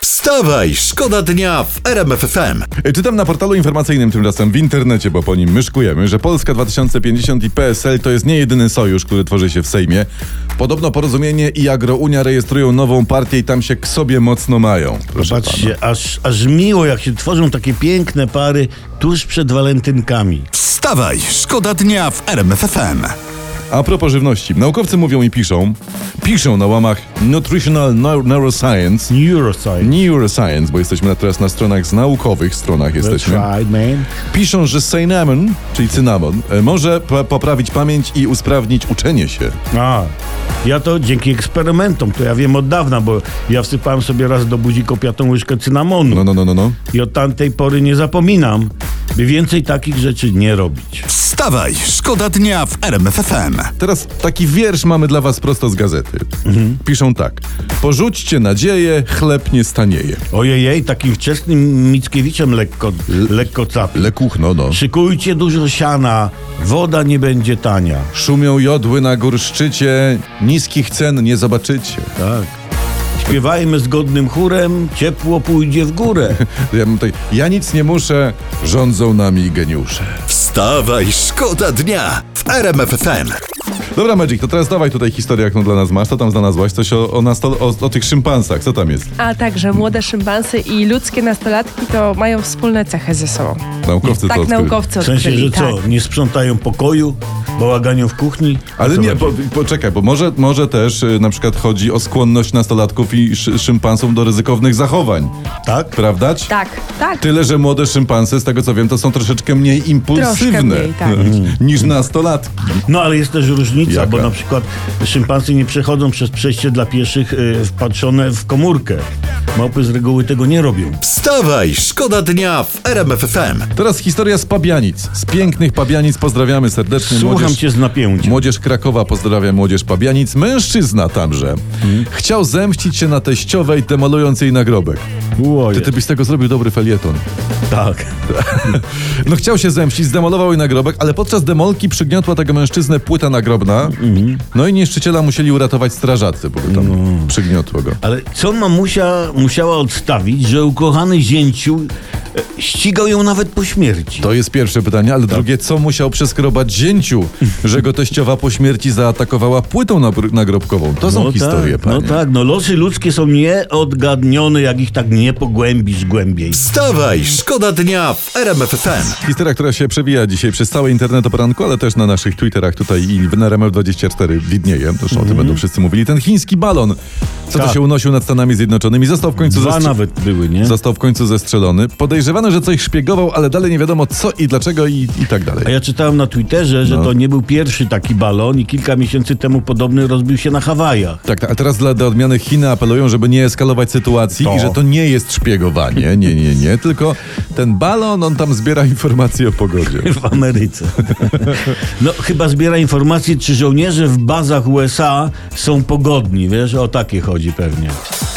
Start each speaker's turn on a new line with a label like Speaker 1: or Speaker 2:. Speaker 1: Wstawaj, szkoda dnia w RMFFM.
Speaker 2: Czytam na portalu informacyjnym tym razem w internecie, bo po nim myszkujemy, że Polska 2050 i PSL to jest nie jedyny sojusz, który tworzy się w Sejmie. Podobno Porozumienie i Agrounia rejestrują nową partię i tam się k sobie mocno mają. Proszę pana.
Speaker 3: Patrzcie, aż, aż miło, jak się tworzą takie piękne pary tuż przed walentynkami.
Speaker 1: Wstawaj, szkoda dnia w RMFFM.
Speaker 2: A propos żywności. Naukowcy mówią i piszą, piszą na łamach Nutritional Neu- Neuroscience,
Speaker 3: Neuroscience.
Speaker 2: Neuroscience, bo jesteśmy na- teraz na stronach z naukowych stronach jesteśmy.
Speaker 3: Tried, man.
Speaker 2: Piszą, że cinnamon, czyli cynamon, e, może po- poprawić pamięć i usprawnić uczenie się.
Speaker 3: A, ja to dzięki eksperymentom, to ja wiem od dawna, bo ja wsypałem sobie raz do buzi kopiatą łyżkę cynamonu
Speaker 2: No, no, no, no, no.
Speaker 3: i od tamtej pory nie zapominam, by więcej takich rzeczy nie robić.
Speaker 1: Wstawaj, szkoda dnia w RMFFM.
Speaker 2: Teraz taki wiersz mamy dla was prosto z gazety. Piszą tak. Porzućcie nadzieję, chleb nie stanieje.
Speaker 3: Ojejej, takim wczesnym Mickiewiczem lekko, lekko capi.
Speaker 2: Lekuchno, no.
Speaker 3: Szykujcie dużo siana, woda nie będzie tania.
Speaker 2: Szumią jodły na górszczycie, niskich cen nie zobaczycie.
Speaker 3: Tak. Śpiewajmy zgodnym chórem, ciepło pójdzie w górę.
Speaker 2: Tak, Ja, mam tutaj, ja nic nie muszę, rządzą nami geniusze.
Speaker 1: Wstawaj, szkoda dnia w RMFFM.
Speaker 2: Dobra, Magic, to teraz dawaj tutaj historię, jaką dla nas masz. Co tam znalazłaś? Coś o, o, nas, o, o tych szympansach. Co tam jest?
Speaker 4: A także młode szympansy i ludzkie nastolatki to mają wspólne cechy ze sobą.
Speaker 2: Naukowcy to
Speaker 4: tak
Speaker 2: odkryli.
Speaker 4: naukowcy
Speaker 3: W sensie,
Speaker 4: odkryli. Tak.
Speaker 3: że co, nie sprzątają pokoju, bałaganią w kuchni?
Speaker 2: Ale
Speaker 3: Co
Speaker 2: nie,
Speaker 3: chodzi?
Speaker 2: po, poczekaj, bo może, może też y, na przykład chodzi o skłonność nastolatków i szy, szympansów do ryzykownych zachowań.
Speaker 3: Tak?
Speaker 2: Prawda?
Speaker 4: Tak, tak.
Speaker 2: Tyle, że młode szympanse, z tego co wiem, to są troszeczkę mniej impulsywne
Speaker 4: mniej, tak.
Speaker 3: Mhm.
Speaker 2: niż nastolatki.
Speaker 3: No ale jest też różnica,
Speaker 2: Jaka?
Speaker 3: bo na przykład szympansy nie przechodzą przez przejście dla pieszych y, wpatrzone w komórkę. Małpy z reguły tego nie robią.
Speaker 1: Wstawaj, szkoda dnia w RMFFM.
Speaker 2: Teraz historia z Pabianic. Z pięknych Pabianic pozdrawiamy serdecznie.
Speaker 3: Słucham
Speaker 2: młodzież,
Speaker 3: cię z napięciem.
Speaker 2: Młodzież Krakowa pozdrawia młodzież Pabianic. Mężczyzna tamże
Speaker 3: Mhm.
Speaker 2: chciał zemścić się na teściowej, demolując jej nagrobek. Ty,
Speaker 3: Łoje.
Speaker 2: ty byś z tego zrobił dobry felieton.
Speaker 3: Tak.
Speaker 2: No chciał się zemścić, zdemolował jej nagrobek, ale podczas demolki przygniotła tego mężczyznę płyta nagrobna.
Speaker 3: Mhm.
Speaker 2: No i niszczyciela musieli uratować strażacy, bo tam
Speaker 3: No.
Speaker 2: przygniotło go.
Speaker 3: Ale co mamusia musiała odstawić, że ukochany zięciu e, ścigał ją nawet po śmierci?
Speaker 2: To jest pierwsze pytanie,
Speaker 3: Tak.
Speaker 2: ale drugie, co musiał przeskrobać zięciu, że go teściowa po śmierci zaatakowała płytą nabr- nagrobkową? To są historie,
Speaker 3: tak,
Speaker 2: panie.
Speaker 3: No tak, no losy ludzkie są nieodgadnione, jak ich tak nie pogłębisz głębiej.
Speaker 1: Wstawaj, szkoda dnia w RMFFM.
Speaker 2: Historia, która się przewija dzisiaj przez cały internet o poranku, ale też na naszych Twitterach tutaj i w RMF24 widnieje, zresztą o tym będą wszyscy mówili. Ten chiński balon, co to
Speaker 3: Mhm. Tak.
Speaker 2: się unosił nad Stanami Zjednoczonymi, został w końcu
Speaker 3: Dwa
Speaker 2: zestr-
Speaker 3: nawet były, nie?
Speaker 2: Został w końcu zestrzelony. Podejrzewano, że coś szpiegował, ale dalej nie wiadomo co i dlaczego i, i tak dalej.
Speaker 3: A ja czytałem na Twitterze, że
Speaker 2: No.
Speaker 3: to nie był pierwszy taki balon i kilka miesięcy temu podobny rozbił się na Hawajach.
Speaker 2: Tak, tak, a teraz dla, dla odmiany Chiny apelują, żeby nie eskalować sytuacji
Speaker 3: To.
Speaker 2: i że to nie jest szpiegowanie, nie, nie, nie, tylko ten balon, on tam zbiera informacje o pogodzie.
Speaker 3: W Ameryce. No chyba zbiera informacje, czy żołnierze w bazach USA są pogodni, wiesz, o takie chodzi pewnie.